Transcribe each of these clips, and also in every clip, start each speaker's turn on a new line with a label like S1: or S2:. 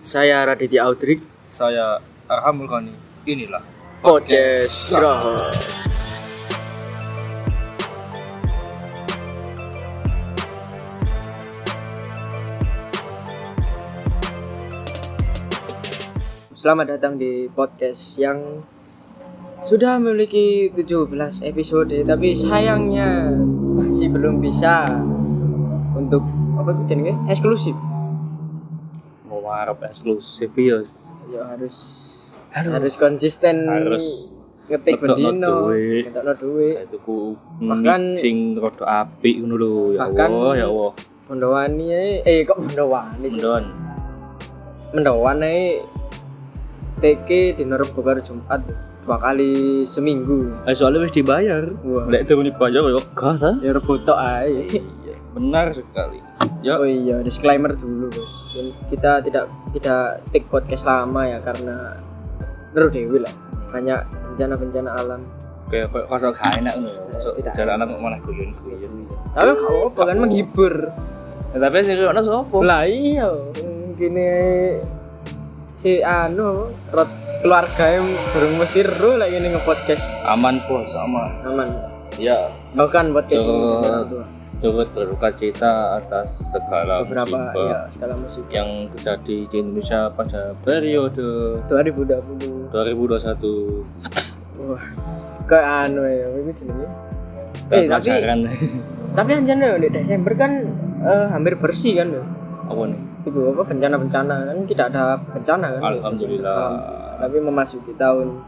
S1: Saya Raditya Audrey
S2: Saya Arhamul Koni. Inilah
S1: Podcast Istirahat. Selamat datang di podcast yang sudah memiliki 17 episode tapi sayangnya masih belum bisa untuk apa itu jenenge? eksklusif.
S2: Mau harap eksklusif ya.
S1: Ya harus harus konsisten
S2: Harus
S1: ngetik
S2: ngetokno
S1: bendino,
S2: duit.
S1: ngetokno duit.
S2: Itu ku
S1: Bahkan-
S2: Bahkan sing rada apik ngono lho ya
S1: Bahkan-
S2: Allah ya Allah.
S1: Bondowani ae eh kok Bondowani sih?
S2: Mendon.
S1: Mendowan ae TK di Rebo karo Jumat dua kali seminggu.
S2: Eh soalnya wis dibayar.
S1: Wah.
S2: Lek turun dibayar ya gak ta?
S1: Ya rebo tok ae.
S2: Iya, benar sekali.
S1: Oh
S2: Ya,
S1: iya, disclaimer dulu, Bos. Dan Kita tidak tidak take podcast lama ya karena terus dewi lah. Hanya bencana-bencana alam.
S2: kayak kayak kosok gak enak ngono. Kosok
S1: Tidak.
S2: Jalanan kok malah guyon-guyon.
S1: Tapi gak apa-apa kan menghibur.
S2: Ya, tapi sing ono sapa?
S1: Lah iya, gini si anu rot keluarga yang burung Mesir lu lagi ini nge-podcast
S2: Aman bos, aman.
S1: aman
S2: Ya,
S1: oh kan podcast ini
S2: Tuh.
S1: dengan orang tua.
S2: turut berduka cita atas segala
S1: beberapa
S2: musibah.
S1: ya skala musik
S2: yang terjadi di Indonesia pada periode
S1: 2020
S2: 2021
S1: wah kayak anu ya itu jenenge
S2: dan
S1: Eh, tapi
S2: pelajaran
S1: tapi anjir loh di Desember kan eh, hampir bersih kan loh
S2: apa nih
S1: itu apa bencana-bencana kan tidak ada bencana kan
S2: Alhamdulillah
S1: tapi memasuki tahun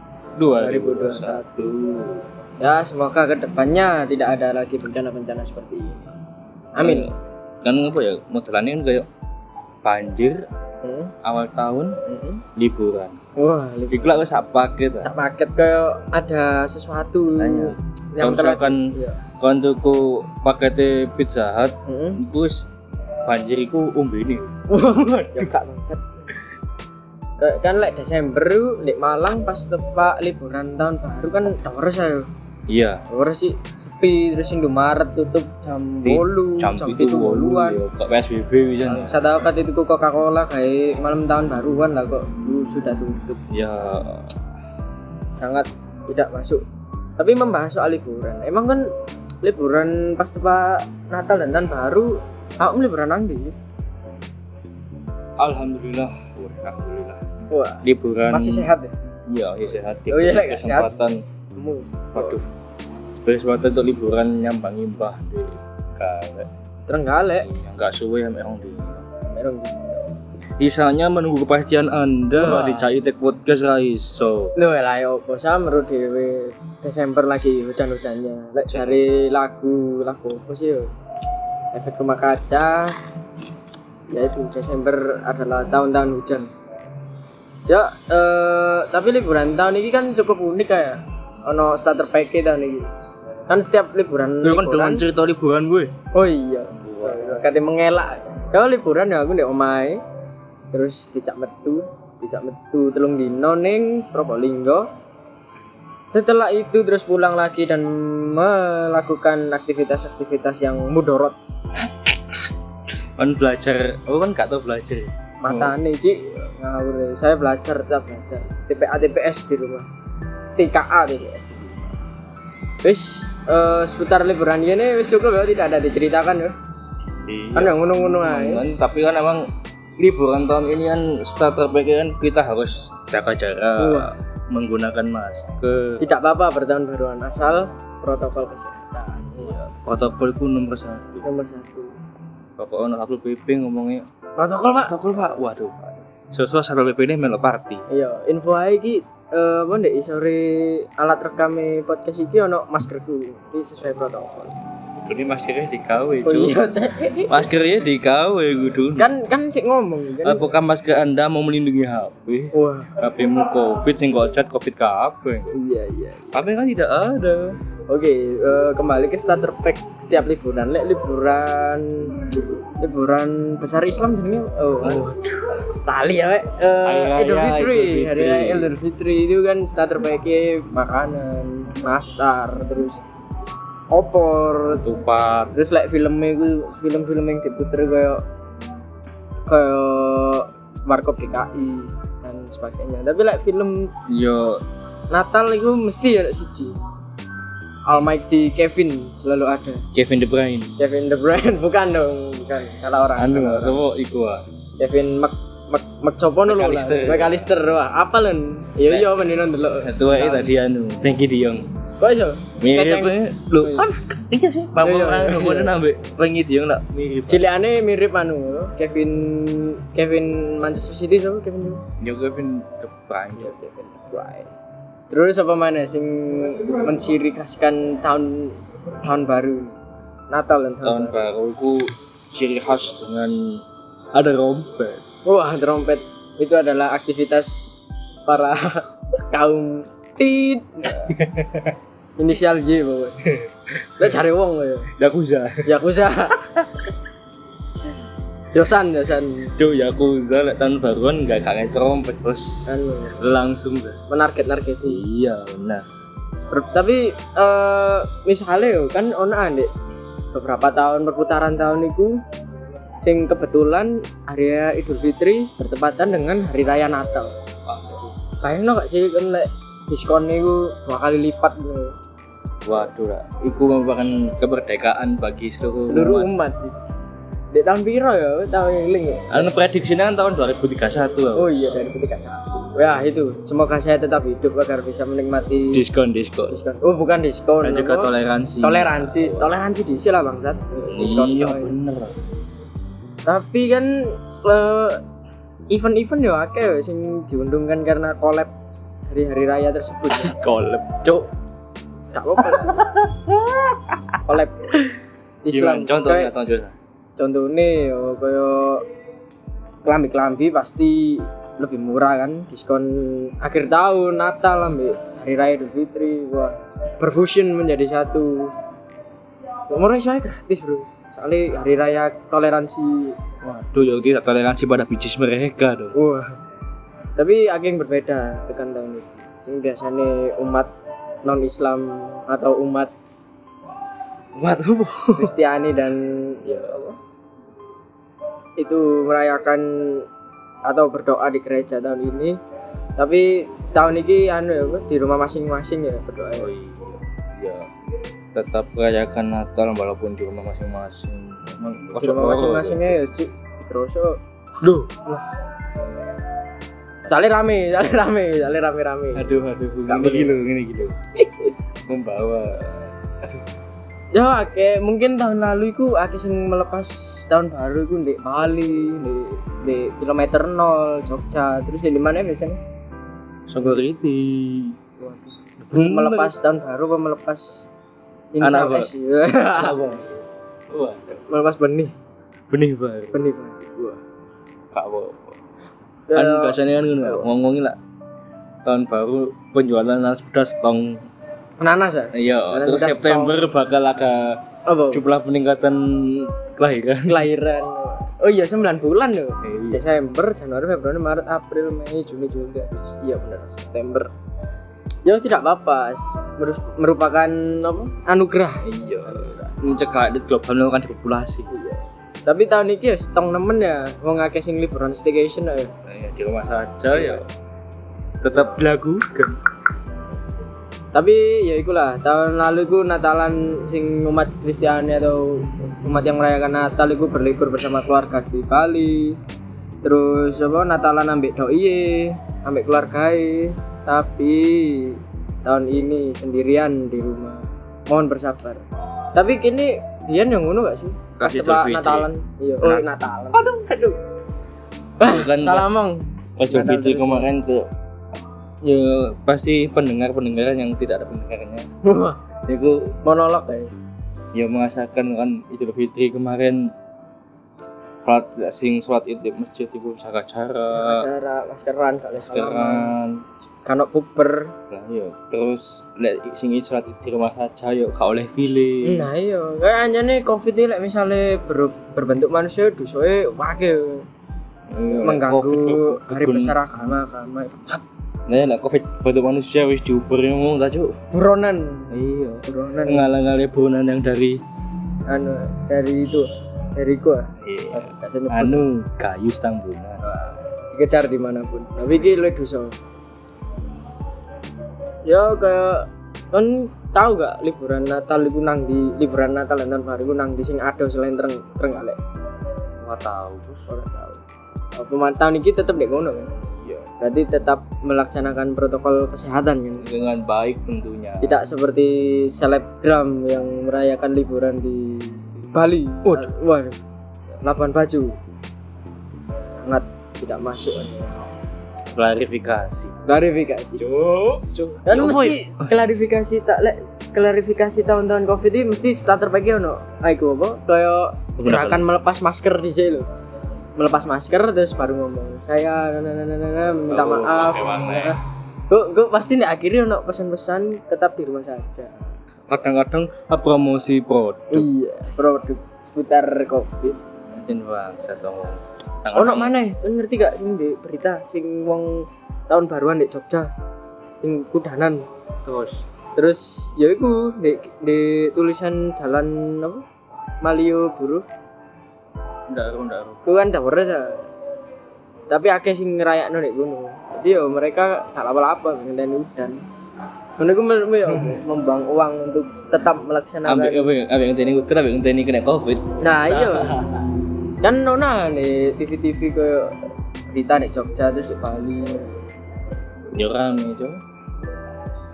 S2: 2021
S1: ya semoga kedepannya tidak ada lagi bencana-bencana seperti ini amin
S2: kan apa ya modelannya kan kayak banjir
S1: Hmm,
S2: awal tahun
S1: hmm.
S2: liburan
S1: wah lebih
S2: iku lah wis sak paket
S1: tak
S2: lah
S1: paket kayak ada sesuatu
S2: Tanya.
S1: yang
S2: Kalau misalkan
S1: iya.
S2: kon tuku pakete pizza hut
S1: Hmm.
S2: iku wis banjir iku umbene
S1: ya gak bangsat Kayak kan lek Desember lu di Malang pas tepak liburan tahun baru kan terus ayo
S2: iya
S1: terus sih sepi terus Indo Maret tutup jam
S2: Di-
S1: bolu
S2: jam iya. itu
S1: boluan
S2: woluan kok PSBB wisan ya.
S1: saya tahu kan itu kok Coca Cola kayak malam tahun baruan lah kok itu sudah tutup
S2: ya
S1: sangat tidak masuk tapi membahas soal liburan emang kan liburan pas tepak Natal dan tahun baru aku liburan nang ndi?
S2: alhamdulillah alhamdulillah
S1: wah
S2: liburan
S1: masih sehat ya
S2: Iya, iya sehat.
S1: Oh iya,
S2: Diberi
S1: nggak
S2: kesempatan.
S1: kamu
S2: Waduh. Diberi kesempatan untuk liburan nyampang nyimpah di karek.
S1: terenggalek
S2: Yang nggak suwe yang merong di.
S1: merong di
S2: Sisanya menunggu kepastian Anda
S1: Wah.
S2: di Caitek Podcast Raiso.
S1: Lho lah ya opo samro dhewe Desember lagi hujan-hujannya. Lek cari lagu, lagu opo sih yo? Efek rumah kaca. Yaitu Desember adalah tahun-tahun hujan. Ya, eh, tapi liburan tahun ini kan cukup unik ya. Ono starter package tahun ini. Kan setiap liburan,
S2: Lu kan
S1: liburan
S2: dengan cerita liburan gue.
S1: Oh iya. Kate mengelak. Kalau liburan ya aku ndek omahe. Terus dicak metu, dicak metu telung dino ning Probolinggo. Setelah itu terus pulang lagi dan melakukan aktivitas-aktivitas yang mudorot.
S2: Kan belajar, aku kan gak tau belajar.
S1: Iya.
S2: ya.
S1: Mata nih, Cik. Ngawur. eh. Saya belajar, tetap belajar. TPA TPS di rumah. TKA TPS di rumah. Wis eh, seputar liburan ini wis cukup ya tidak ada diceritakan ya. Kan
S2: Iya.
S1: yang ngono-ngono ae.
S2: Kan, tapi kan emang liburan tahun ini kan starter package kan kita harus jaga
S1: Wah.
S2: jarak, menggunakan masker,
S1: tidak apa-apa bertahun baruan asal protokol kesehatan
S2: protokol itu nomor satu.
S1: nomor satu
S2: Bapak ono Satpol PP ngomongnya
S1: protokol pak
S2: protokol Pak. Waduh. Sosok Satpol PP ini melok party.
S1: iya info aja ki eh apa ndek sore alat rekam podcast iki ono maskerku iki sesuai protokol
S2: Ini maskernya dikawe,
S1: oh
S2: cuy.
S1: iya Teh.
S2: Maskernya dikawe kudu.
S1: kan kan sik ngomong kan
S2: Apakah masker Anda mau melindungi HP?
S1: wah
S2: HP mu Covid sing kocat Covid kabeh.
S1: iya iya
S2: HP kan tidak ada.
S1: oke eh, kembali ke starter pack setiap liburan lek liburan liburan besar Islam jenenge oh, oh. tali ya wek
S2: Hari
S1: Eh,
S2: Raya,
S1: Idul Fitri
S2: Idul Fitri.
S1: hari Raya Idul Fitri itu kan starter packnya makanan nastar terus opor
S2: Ketupat,
S1: terus like filmnya itu film-film yang diputer kayak kayak warkop DKI dan sebagainya tapi like film
S2: yo
S1: Natal itu mesti ya like, siji Almighty Kevin selalu ada
S2: Kevin De Bruyne
S1: Kevin De Bruyne bukan dong bukan salah orang
S2: anu
S1: Salah
S2: lah
S1: orang.
S2: semua iku ah
S1: Kevin Mac Mac Mac Copo dulu lah
S2: McAllister.
S1: McAllister wah apa lan iya iya mendingan dulu
S2: satu aja tadi anu Frankie De Jong
S1: kok iso
S2: mirip
S1: Kacang- Oh,
S2: eh. lu kan iya sih
S1: Iya, iya,
S2: pamoran
S1: iya.
S2: kemudian ambek Frankie De Jong lah mirip
S1: Ciliane mirip anu Kevin Kevin Manchester City siapa Kevin
S2: yo Kevin De Bruyne
S1: Kevin De Bruyne. Terus apa mana sing mencirikaskan tahun tahun baru Natal dan tahun,
S2: tahun
S1: baru.
S2: baru ku ciri khas dengan ada rompet
S1: Wah, Oh, ah, trompet itu adalah aktivitas para kaum tit. Inisial J bawa. Lah cari wong kok ya.
S2: Yakuza
S1: Yakuza. Yosan, Yosan.
S2: Cuk Yakuza lek tahun baruan gak kangen trompet terus
S1: Anu,
S2: langsung dah
S1: menarget-nargeti.
S2: iya benar
S1: Per- tapi eh misalnya yo, kan ono ande beberapa tahun perputaran tahun itu sing kebetulan area Idul Fitri bertepatan dengan hari raya Natal. Bayangno gak sih kan lek diskon niku dua kali lipat gitu.
S2: waduh lah itu merupakan kemerdekaan bagi seluruh,
S1: seluruh
S2: umat.
S1: umat. Di tahun piro ya? Tahun yang link ya?
S2: anu prediksinya kan tahun 2031 lah
S1: Oh iya dari ketika satu. Ya itu. Semoga saya tetap hidup agar bisa menikmati
S2: diskon diskon
S1: diskon. Oh bukan diskon.
S2: dan juga
S1: apa?
S2: toleransi
S1: toleransi. Toleransi di sini lah bangsat. Diskon
S2: iya
S1: toleransi.
S2: bener
S1: tapi kan eh, event-event ya akeh ya sing diuntungkan karena collab dari hari raya tersebut ya.
S2: kolep cuk
S1: Gak apa-apa lah. collab Islam
S2: Gimana? contohnya
S1: Kayak
S2: contohnya
S1: contohnya ya kaya kelambi-kelambi pasti lebih murah kan diskon akhir tahun Natal ambek hari raya Idul Fitri wah perfusion menjadi satu murah saya gratis bro soalnya hari raya toleransi
S2: waduh ya kita toleransi pada bijis mereka dong
S1: Wah. Tapi agak yang berbeda tekan tahun ini. Sing biasanya umat non Islam atau umat
S2: buat apa
S1: Kristiani dan
S2: ya
S1: itu merayakan atau berdoa di gereja tahun ini. Tapi tahun ini anu ya, apa, di rumah masing-masing ya berdoa. ya.
S2: oh iya ya tetap rayakan Natal walaupun di rumah masing-masing Emang
S1: Di
S2: oh,
S1: rumah masing-masingnya ya cik terus oh,
S2: duh
S1: Sale rame, sale rame, sale rame-rame.
S2: aduh aduh
S1: Gak
S2: gini gini gini gini membawa
S1: Ya akeh mungkin tahun lalu iku akeh sing melepas tahun baru iku ndek Bali, ndek ndek kilometer nol Jogja, terus di mana biasanya?
S2: Sogoriti
S1: Waduh.
S2: Bener.
S1: Melepas tahun baru apa melepas
S2: Anak
S1: inisial
S2: apa?
S1: S? Ya.
S2: wah
S1: melepas benih,
S2: benih baru
S1: benih. benih. Wah.
S2: kak apa
S1: Ya,
S2: kan biasanya kan ngono, ngomongin lah tahun baru penjualan nasi pedas tong
S1: nanas ya?
S2: iya
S1: Nasi
S2: terus
S1: pedas
S2: September bakal ada
S1: Apa?
S2: jumlah peningkatan kelahiran
S1: Kelahiran. Oh iya 9 bulan loh.
S2: Iya.
S1: Desember, Januari, Februari, Maret, April, Mei, Juni, Juli, Agustus. Iya benar, September. Ya tidak apa-apa. Meru- Merupakan apa? Anugerah.
S2: iya mencegah di global melakukan populasi
S1: Tapi tahun ini ya setong nemen ya. Wong akeh sing liburan staycation ya.
S2: ya, di rumah saja ya tetap dilakukan
S1: Tapi ya ikulah tahun lalu ku Natalan sing umat Kristiani atau umat yang merayakan Natal iku berlibur bersama keluarga di Bali. Terus apa Natalan ambek doi, ambek keluarga. e. Tapi tahun ini sendirian di rumah. Mohon bersabar. Tapi kini Bian yang ngono gak sih? Pas
S2: Kasih
S1: tebak
S2: Idul Fitri.
S1: Natalan. Iya, oh,
S2: Nat-
S1: Natalan. Aduh, aduh.
S2: bukan
S1: Salah mong.
S2: Ah, kan pas
S1: Natal
S2: video
S1: terus.
S2: kemarin tuh ya pasti pendengar pendengar yang tidak ada pendengarnya
S1: Wah,
S2: itu
S1: Monolog kayak.
S2: ya merasakan kan Idul Fitri kemarin sholat sing sholat id di masjid itu jaga jarak
S1: acara maskeran gak boleh salaman
S2: kan
S1: kanok puber
S2: Lah, yo. terus lek sing id sholat id di rumah saja yuk gak oleh pilih
S1: nah iya kayak anjane covid ini like, misalnya ber- berbentuk manusia dusoe wakil
S2: Yo, lek
S1: mengganggu
S2: Iya, Covid,
S1: hari
S2: begun.
S1: besar agama agama Sat,
S2: nah lek covid bentuk manusia wis diuber ngomong ta cuk
S1: buronan
S2: iya
S1: buronan
S2: ngalang-ngalang burunan yang dari
S1: anu dari itu dari gua
S2: iya,
S1: gak sempet.
S2: anu kayu stangbunan
S1: dikejar dimanapun tapi ini lu dosa ya kayak kan tahu gak liburan Natal itu nang di liburan Natal dan tahun baru itu nang di sing ada selain tereng tereng kali
S2: nggak tahu bos
S1: orang tahu Oh, pemantauan ini tetap di kono kan
S2: ya
S1: berarti tetap melaksanakan protokol kesehatan kan
S2: dengan baik tentunya
S1: tidak seperti selebgram yang merayakan liburan di Bali. Ah,
S2: Waduh.
S1: Waduh. Labuan Bajo. Sangat tidak masuk.
S2: klarifikasi
S1: Klarifikasi.
S2: cuk cuk
S1: Dan
S2: Ya,
S1: mesti
S2: boy.
S1: klarifikasi tak lek klarifikasi tahun-tahun Covid ini mesti starter pagi ono. Aiku apa? Kaya
S2: Apa
S1: gerakan melepas masker di sini lho. Melepas masker terus baru ngomong. Saya na- na- na- na- na- na, minta
S2: Oh,
S1: maaf.
S2: hewan, eh.
S1: Gue gue pasti nih akhirnya ono pesan-pesan tetap di rumah saja.
S2: kadang-kadang ah, promosi produk
S1: Iya, produk seputar Covid.
S2: anjing bangsa dong
S1: ono mana ya? Lu ngerti gak sing di berita sing wong tahun baruan di Jogja sing kudanan
S2: terus
S1: terus ya iku di, di tulisan jalan apa Malioboro
S2: ndak ro ndak ro
S1: ku kan dapur aja tapi akeh sing ngerayakno nek ngono jadi ya mereka gak apa-apa ngenteni udan ngono iku menurutmu ya membuang uang untuk tetap
S2: ambek
S1: melaksanakan
S2: ambek ambek ngenteni kuter ambek ngenteni kena covid
S1: nah iya kan nona nih TV-TV ke berita di Jogja terus di Bali
S2: yo rame cuk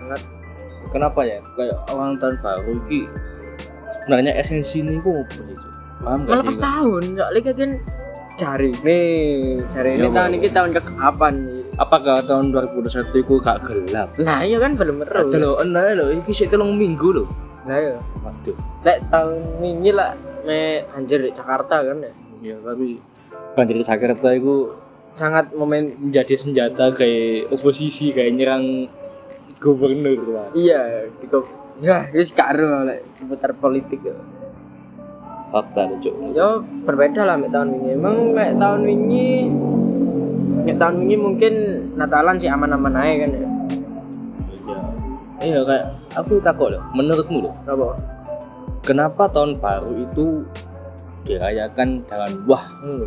S1: sangat
S2: ya, kenapa ya kayak awal tahun baru iki sebenarnya esensi ini ku apa sih cuk paham gak
S1: melepas
S2: sih
S1: tahun soalnya kan cari nih cari ini
S2: Iya,
S1: tahun
S2: Bang.
S1: ini tahun ke kapan nih?
S2: apakah tahun 2021 iku gak gelap
S1: nah iya kan belum meru
S2: Delok enak lho, iki sik telung minggu lho.
S1: nah iya
S2: Waduh.
S1: lek tahun ini lah me anjir di Jakarta kan ya
S2: Ya tapi banjir Jakarta itu
S1: sangat momen
S2: momen menjadi senjata kayak oposisi kayak nyerang gubernur lah.
S1: iya gitu ya wis karo lek seputar politik ya
S2: Fakta lho, Cuk.
S1: Ya, berbeda lah mek tahun ini emang lek tahun ini mek tahun ini mungkin Natalan sih aman-aman aja kan ya
S2: Iya. Iya kayak aku takut loh, menurutmu loh,
S1: apa
S2: kenapa tahun baru itu dirayakan dengan wah
S1: Hmm.
S2: ngono?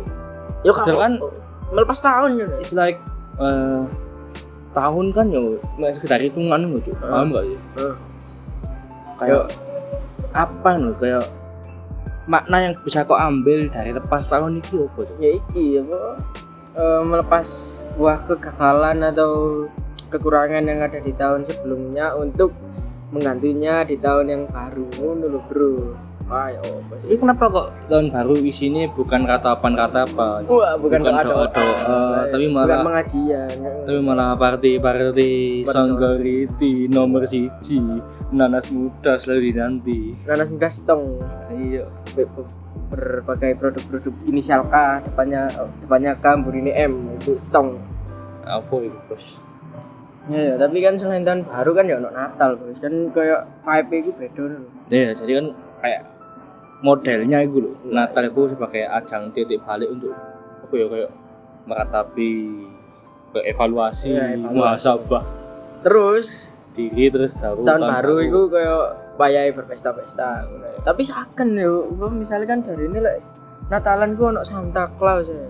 S1: yo kak-
S2: Padahal kan-
S1: Ya, melepas tahun ya
S2: It's like eh, tahun kan ya nggak sekitar hitungan loh, Cuk. Paham nggak sih?
S1: Heeh.
S2: kayak apa nih kayak makna yang bisa kau ambil dari lepas tahun ini apa tuh
S1: ya iki apa eh, melepas buah kegagalan atau kekurangan yang ada di tahun sebelumnya untuk menggantinya di tahun yang baru ngono lho bro ayo apa sih?
S2: tapi kenapa kok tahun baru isinya bukan ratapan-ratapan
S1: wah bukan,
S2: Bukan
S1: doa-doa. ya.
S2: doa-doa, eh, tapi malah-
S1: bukan pengajian
S2: tapi malah party-party
S1: Party.
S2: sanggariti nomor siji nanas muda selalu dinanti
S1: nanas muda stong
S2: iya
S1: Be- be- berbagai produk-produk inisial K depannya depannya K burine M itu stong
S2: apa itu bos
S1: ya, ya, tapi kan selain tahun baru kan ya ono Natal bos kan kayak vibe itu beda lho.
S2: iya jadi kan kayak modelnya itu loh
S1: Iya.
S2: Natal itu sebagai ajang titik balik untuk apa ya kayak meratapi evaluasi,
S1: Iya,
S2: evaluasi.
S1: evaluasi.
S2: muhasabah
S1: terus
S2: diri terus baru
S1: Oh, tahun baru itu kayak bayai berpesta-pesta ngono ya. tapi saken yo Umpam misalnya kan dari ini lek Natalan ku ono Santa Claus ya.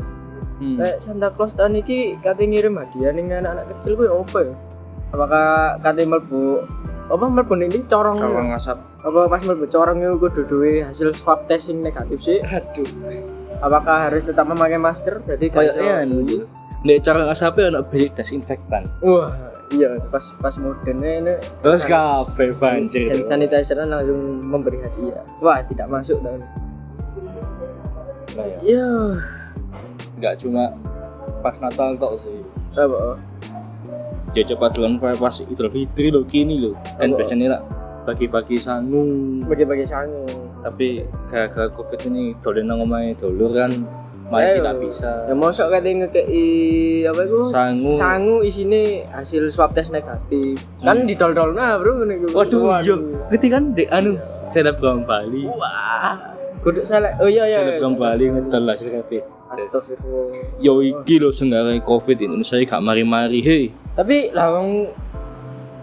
S2: Hmm.
S1: Lek Santa Claus tahun iki kate ngirim hadiah ning anak-anak kecil ku ya apa ya? Apakah kate mlebu apa mlebu ning ndi? corong?
S2: kalau
S1: ya?
S2: ngasap
S1: Apa pas mlebu corong iku kudu duwe hasil swab test sing negatif sih?
S2: aduh
S1: Apakah harus tetap memakai masker? Berarti gak
S2: kayak
S1: iso-
S2: iya nih nek cara ngasapnya anak bilik desinfektan
S1: Wah, iya pas pas modernnya ini
S2: terus kape banjir
S1: Iya. hand sanitizer langsung memberi hadiah. Wah, tidak masuk tahun ini.
S2: Lah ya
S1: Iya.
S2: nggak cuma pas Natal tok sih
S1: Apa? oh?
S2: dia coba duluan kayak pas Idul Fitri lo kini lo dan
S1: Apa?
S2: biasanya lah bagi-bagi sangu
S1: Bagi-bagi sangu.
S2: tapi gara-gara covid ini dolen nang omahe dulur kan mari
S1: Ayo.
S2: tidak bisa
S1: Ya mosok kate ngekeki apa iku?
S2: sangu
S1: Sangu isine hasil swab test negatif. Kan
S2: Hmm.
S1: didol-dolna, Bro, ngene iku.
S2: waduh iya. yo ngerti kan dek anu selebgram Bali
S1: Wah. Kudu salah. Oh iya iya. iya.
S2: selebgram Bali ngetel lah selebgram
S1: Astagfirullah.
S2: yo iki lho senggarai covid Indonesia gak mari-mari hei
S1: Tapi lah wong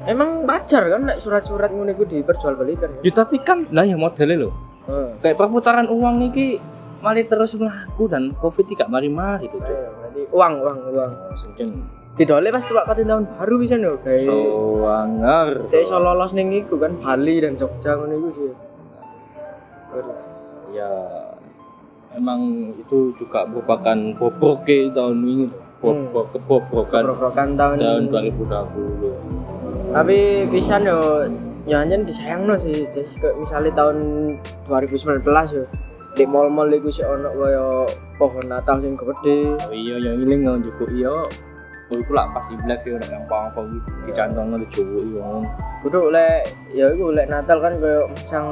S1: emang wajar kan nek surat-surat ngono iku diperjualbelikan Hmm. ya.
S2: ya tapi kan lah ya modelnya lho
S1: Heeh.
S2: kayak perputaran uang iki malah terus melaku dan covid ini gak mari-mari tuh Cuk.
S1: Ayo, ayo. berarti uang uang uang
S2: Sencen.
S1: didole pas tuwak katin tahun baru bisa no guys
S2: Soanger.
S1: Cek iso lolos ning iku kan Bali dan Jogja ngono iku sih.
S2: Ya emang itu juga merupakan bobrok tahun ini bobrok Hmm. kebobrokan
S1: Rokrokan tahun
S2: tahun
S1: ini.
S2: 2020
S1: Tapi pisan yo nyanyen disayangno sih. Jadi kayak misalnya tahun 2019 yo di mall-mall iku sih ono kaya pohon Natal sing gede.
S2: oh iya yang ini nggak cukup iya oh itu lah pas Imlek sih orang yang pang pang dicantong oleh cowok iya
S1: Kudu lek ya iku lek Natal kan kaya sang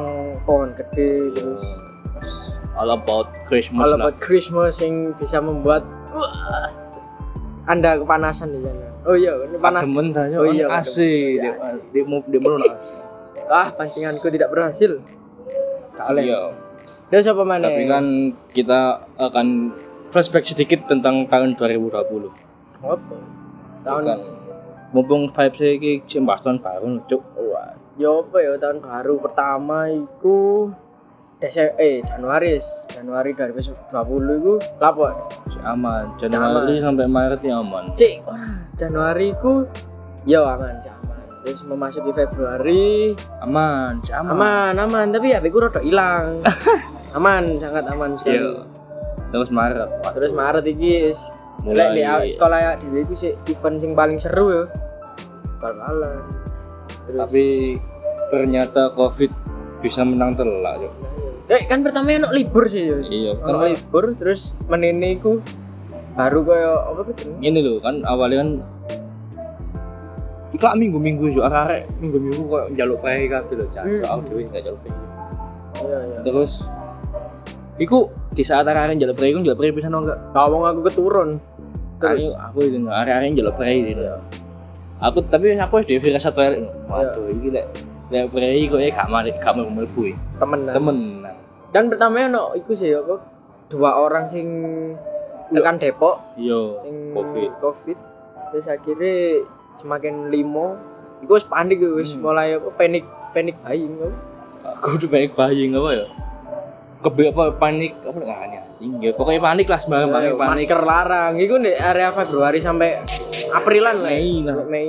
S1: pohon gede
S2: Iya.
S1: terus
S2: Terus, all about Christmas
S1: Kalau
S2: lah
S1: buat Christmas yang bisa membuat Wah, Anda kepanasan di sana. Oh iya, ini panas.
S2: Temen tanya,
S1: Oh iya,
S2: asih,
S1: padahal.
S2: dia dia mau dia mau nak asih.
S1: Ah, pancinganku tidak berhasil. Gak oleh.
S2: Iya,
S1: Dia siapa mana?
S2: tapi kan kita akan flashback sedikit tentang tahun 2020.
S1: Apa? Tahun
S2: Tahun kan mumpung vibes iki sing pas tahun baru cuk.
S1: Wah, yo apa ya tahun baru pertama iku Desember eh Januari, Januari 2020 iku lapo?
S2: Cuk, aman. Januari sampai Maret ya aman.
S1: Cik, wah, Januari iku yo aman, cik, aman. Terus memasuki Februari,
S2: Aman, cuk, aman.
S1: aman, aman, tapi HP ku rada hilang. aman, sangat aman sekali.
S2: Iya. Terus Maret. Wah,
S1: Terus Maret iki wis mulai di
S2: mulai
S1: sekolah ya dhewe iku sih event sing paling seru ya. Bal-balan. Terus
S2: tapi ternyata Covid bisa menang telak, cuk.
S1: Eh kan pertama ono libur sih yo.
S2: Iya,
S1: Ono
S2: pertama
S1: libur terus menene iku baru koyo apa gitu.
S2: ini loh kan awalnya kan Iku minggu-minggu juga arek minggu-minggu kok njaluk pae kabeh lho, Cak.
S1: Hmm.
S2: Aku dhewe enggak njaluk pae.
S1: Iya iya.
S2: Terus iku di saat arek-arek njaluk pae iku njaluk pae pisan enggak?
S1: Nah, wong aku keturun. Terus Iya.
S2: Ayo aku itu nggak arek-arek njaluk pae gitu. Aku tapi aku wis dhewe rasa tuh Waduh, iki lek lek pae kok ya gak mari gak mau mlebu. ya.
S1: Nah. temenan.
S2: Temen. nah.
S1: Dan pertama ono iku sih apa dua orang sing tekan Depok
S2: Yo,
S1: sing
S2: Iya. Covid.
S1: Covid. Terus akhirnya semakin limo iku wis panik wis
S2: Hmm.
S1: mulai apa panik panik buying apa.
S2: Aku udah banyak bayang apa ya? Kebe apa panik apa ngene anjing. Ya pokoknya panik lah sembarang panik
S1: Ayo,
S2: panik.
S1: Eh, Iya, masker larang itu di area Februari sampai Aprilan lah ya.
S2: Mei lah.
S1: Mei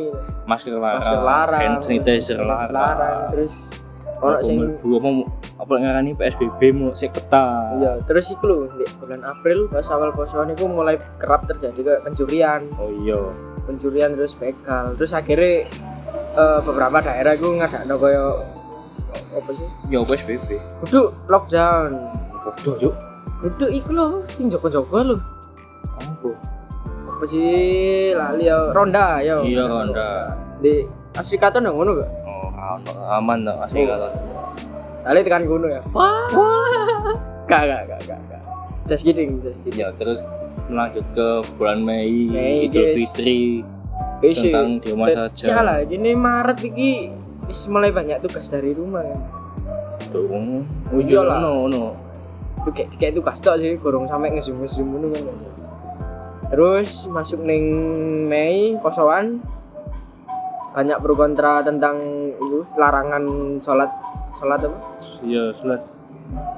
S2: masker larang,
S1: masker larang
S2: hand sanitizer larang,
S1: terus
S2: orang
S1: orang sing
S2: dua mau apa ngarani PSBB mau sik peta
S1: iya terus iku lho di bulan April pas awal posoan itu mulai kerap terjadi kayak pencurian
S2: oh iya
S1: pencurian terus begal terus akhirnya eh, beberapa daerah itu nggak ada kaya apa sih
S2: ya PSBB
S1: kudu lockdown
S2: bodoh yuk
S1: kudu iku lho sing jaga-jaga lho
S2: apa
S1: apa sih lali ya ronda ya
S2: iya ronda
S1: di asli kata nang ngono gak
S2: oh aman aman tak asli
S1: Oh.
S2: kalau
S1: Kali tekan gunung ya. Wah. Gak gak gak gak. gak. Just kidding, just kidding.
S2: ya terus melanjut ke bulan Mei,
S1: Mei,
S2: Idul
S1: guys.
S2: Fitri
S1: eh,
S2: tentang di rumah saja
S1: Salah, gini Maret iki wis mulai banyak tugas dari rumah kan.
S2: dong oh
S1: Iya
S2: iya
S1: lah.
S2: no no
S1: Itu kayak kayak tugas tok sih, gorong sampai ngezoom-zoom ngono kan. Terus masuk neng Mei kosoan banyak pro kontra tentang itu larangan sholat sholat apa?
S2: iya sulit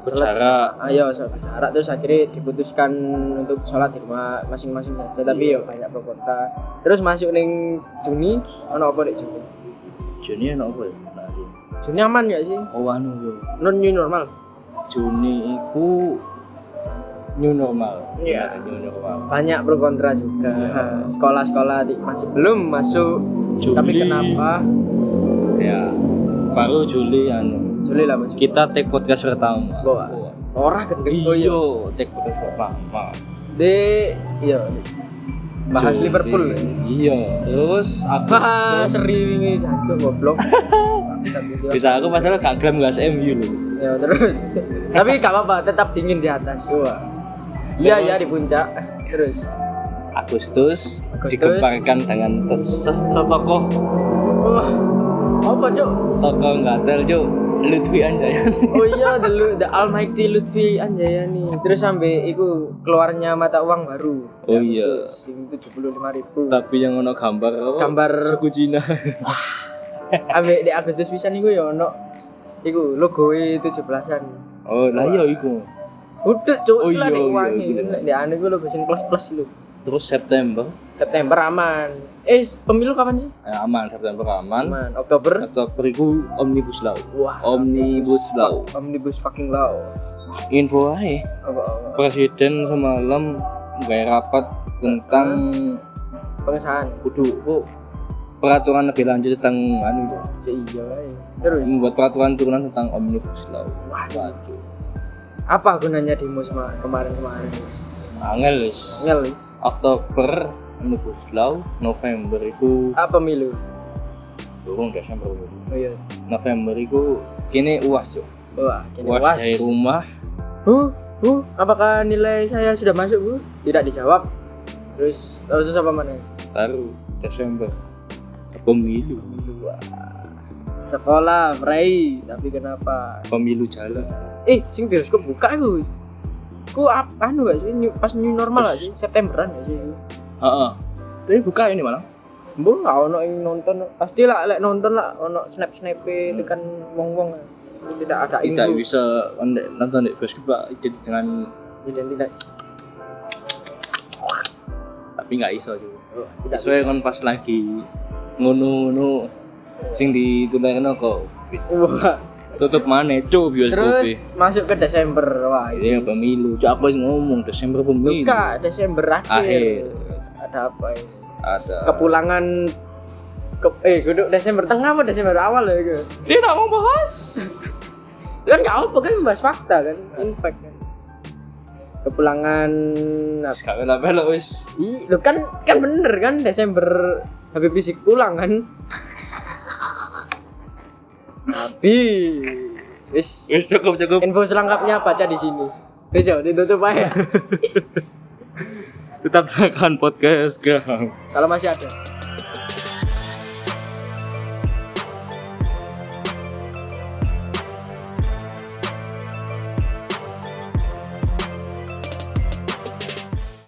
S1: Sholat
S2: berjarak
S1: ayo sholat jarak terus akhirnya diputuskan untuk sholat di rumah masing-masing saja tapi ya
S2: Iya.
S1: banyak pro kontra terus masuk neng Juni ono apa nih Juni
S2: Juni enak apa ya Nanti.
S1: Nah, Juni aman gak sih
S2: oh anu yo
S1: non new normal
S2: Juni itu new normal.
S1: Iya.
S2: Benar, New normal.
S1: banyak pro kontra juga
S2: Iya.
S1: sekolah-sekolah di- masih belum masuk
S2: Juli.
S1: tapi kenapa
S2: Ya. Baru Juli anu.
S1: Juli lah Mas.
S2: Kita take podcast pertama.
S1: Wah. orang gendeng oh iya.
S2: Iya, take podcast pertama.
S1: di iya bahas
S2: Juli.
S1: Liverpool ya.
S2: Iya. Terus
S1: Wah,
S2: Agustus.
S1: seri ini jancuk goblok.
S2: Iya. Bisa aku padahal gak glam gak SMU lho.
S1: Ya terus. Tapi gak apa-apa, tetap dingin di atas. Wah. Iya
S2: Terus.
S1: ya di puncak. Terus.
S2: Agustus,
S1: Agustus.
S2: dikemparkan dengan tes tes- tokoh
S1: Wah. Apa, Cuk?
S2: tokoh gatel cuk Lutfi Anjayan
S1: Oh iya, the, Lu- the Almighty Lutfi Anjayani. Terus sampai iku keluarnya mata uang baru.
S2: Oh iya.
S1: Sing 75 ribu.
S2: tapi yang ono gambar apa?
S1: Gambar-
S2: suku Cina
S1: Ambek di Agustus pisan iku ya ono iku logoe 17-an.
S2: oh lah iya iku
S1: Udah, Cuk.
S2: Oh
S1: Iku lah
S2: iya,
S1: nek
S2: iya,
S1: uange.
S2: iya.
S1: Nek di anu iku logo sing plus-plus lho.
S2: terus September
S1: September aman eh pemilu kapan sih
S2: eh, aman September aman
S1: aman Oktober
S2: Oktober itu omnibus law
S1: wah
S2: omnibus law
S1: omnibus fucking law
S2: info aja
S1: apa, apa.
S2: presiden semalam nggak rapat tentang
S1: pengesahan
S2: kudu oh, peraturan lebih lanjut tentang anu
S1: Ya iya woy. terus
S2: membuat peraturan turunan tentang omnibus law
S1: wah
S2: waduh
S1: apa gunanya demo sama kemarin kemarin
S2: angel wis.
S1: ngel wis.
S2: Oktober omnibus law November itu
S1: ah pemilu
S2: turun Desember itu.
S1: oh iya
S2: November itu kini uas yo
S1: wah kini
S2: uas
S1: was
S2: dari rumah
S1: bu bu apakah nilai saya sudah masuk bu tidak dijawab terus langsung sama mana
S2: baru Desember pemilu
S1: dua sekolah Frey tapi kenapa
S2: pemilu jalan
S1: eh sing bioskop buka itu ku ap, anu gak sih new- pas new normal gak sih Septemberan gak sih
S2: Heeh. tapi buka ini malah
S1: bu gak ono yang nonton pasti lah lek nonton lah ono snap snap
S2: Hmm.
S1: tekan wong wong tidak ada
S2: tidak
S1: info
S2: bisa nonton- nonton di bioskop Pak. jadi dengan
S1: tidak tidak
S2: tapi nggak iso juga
S1: oh, tidak
S2: sesuai kan pas lagi ngono-ngono sing ditularin kok
S1: Wah,
S2: tutup mana cu bioskop
S1: terus masuk ke Desember wah
S2: ini pemilu cok aku yang ngomong Desember pemilu
S1: buka Desember akhir
S2: akhir
S1: ada apa ini
S2: ada
S1: kepulangan ke, eh duduk Desember tengah apa Desember awal ya gitu
S2: dia nggak mau bahas
S1: kan nggak apa kan bahas fakta kan
S2: Nah.
S1: impact kan kepulangan apa?
S2: gak bela-bela wis
S1: Ih, lo kan kan bener kan Desember Habib Rizik pulang kan tapi wis
S2: wis cukup cukup
S1: info selengkapnya baca di sini wis ya ditutup aja
S2: tetap dengarkan podcast gang
S1: kalau masih ada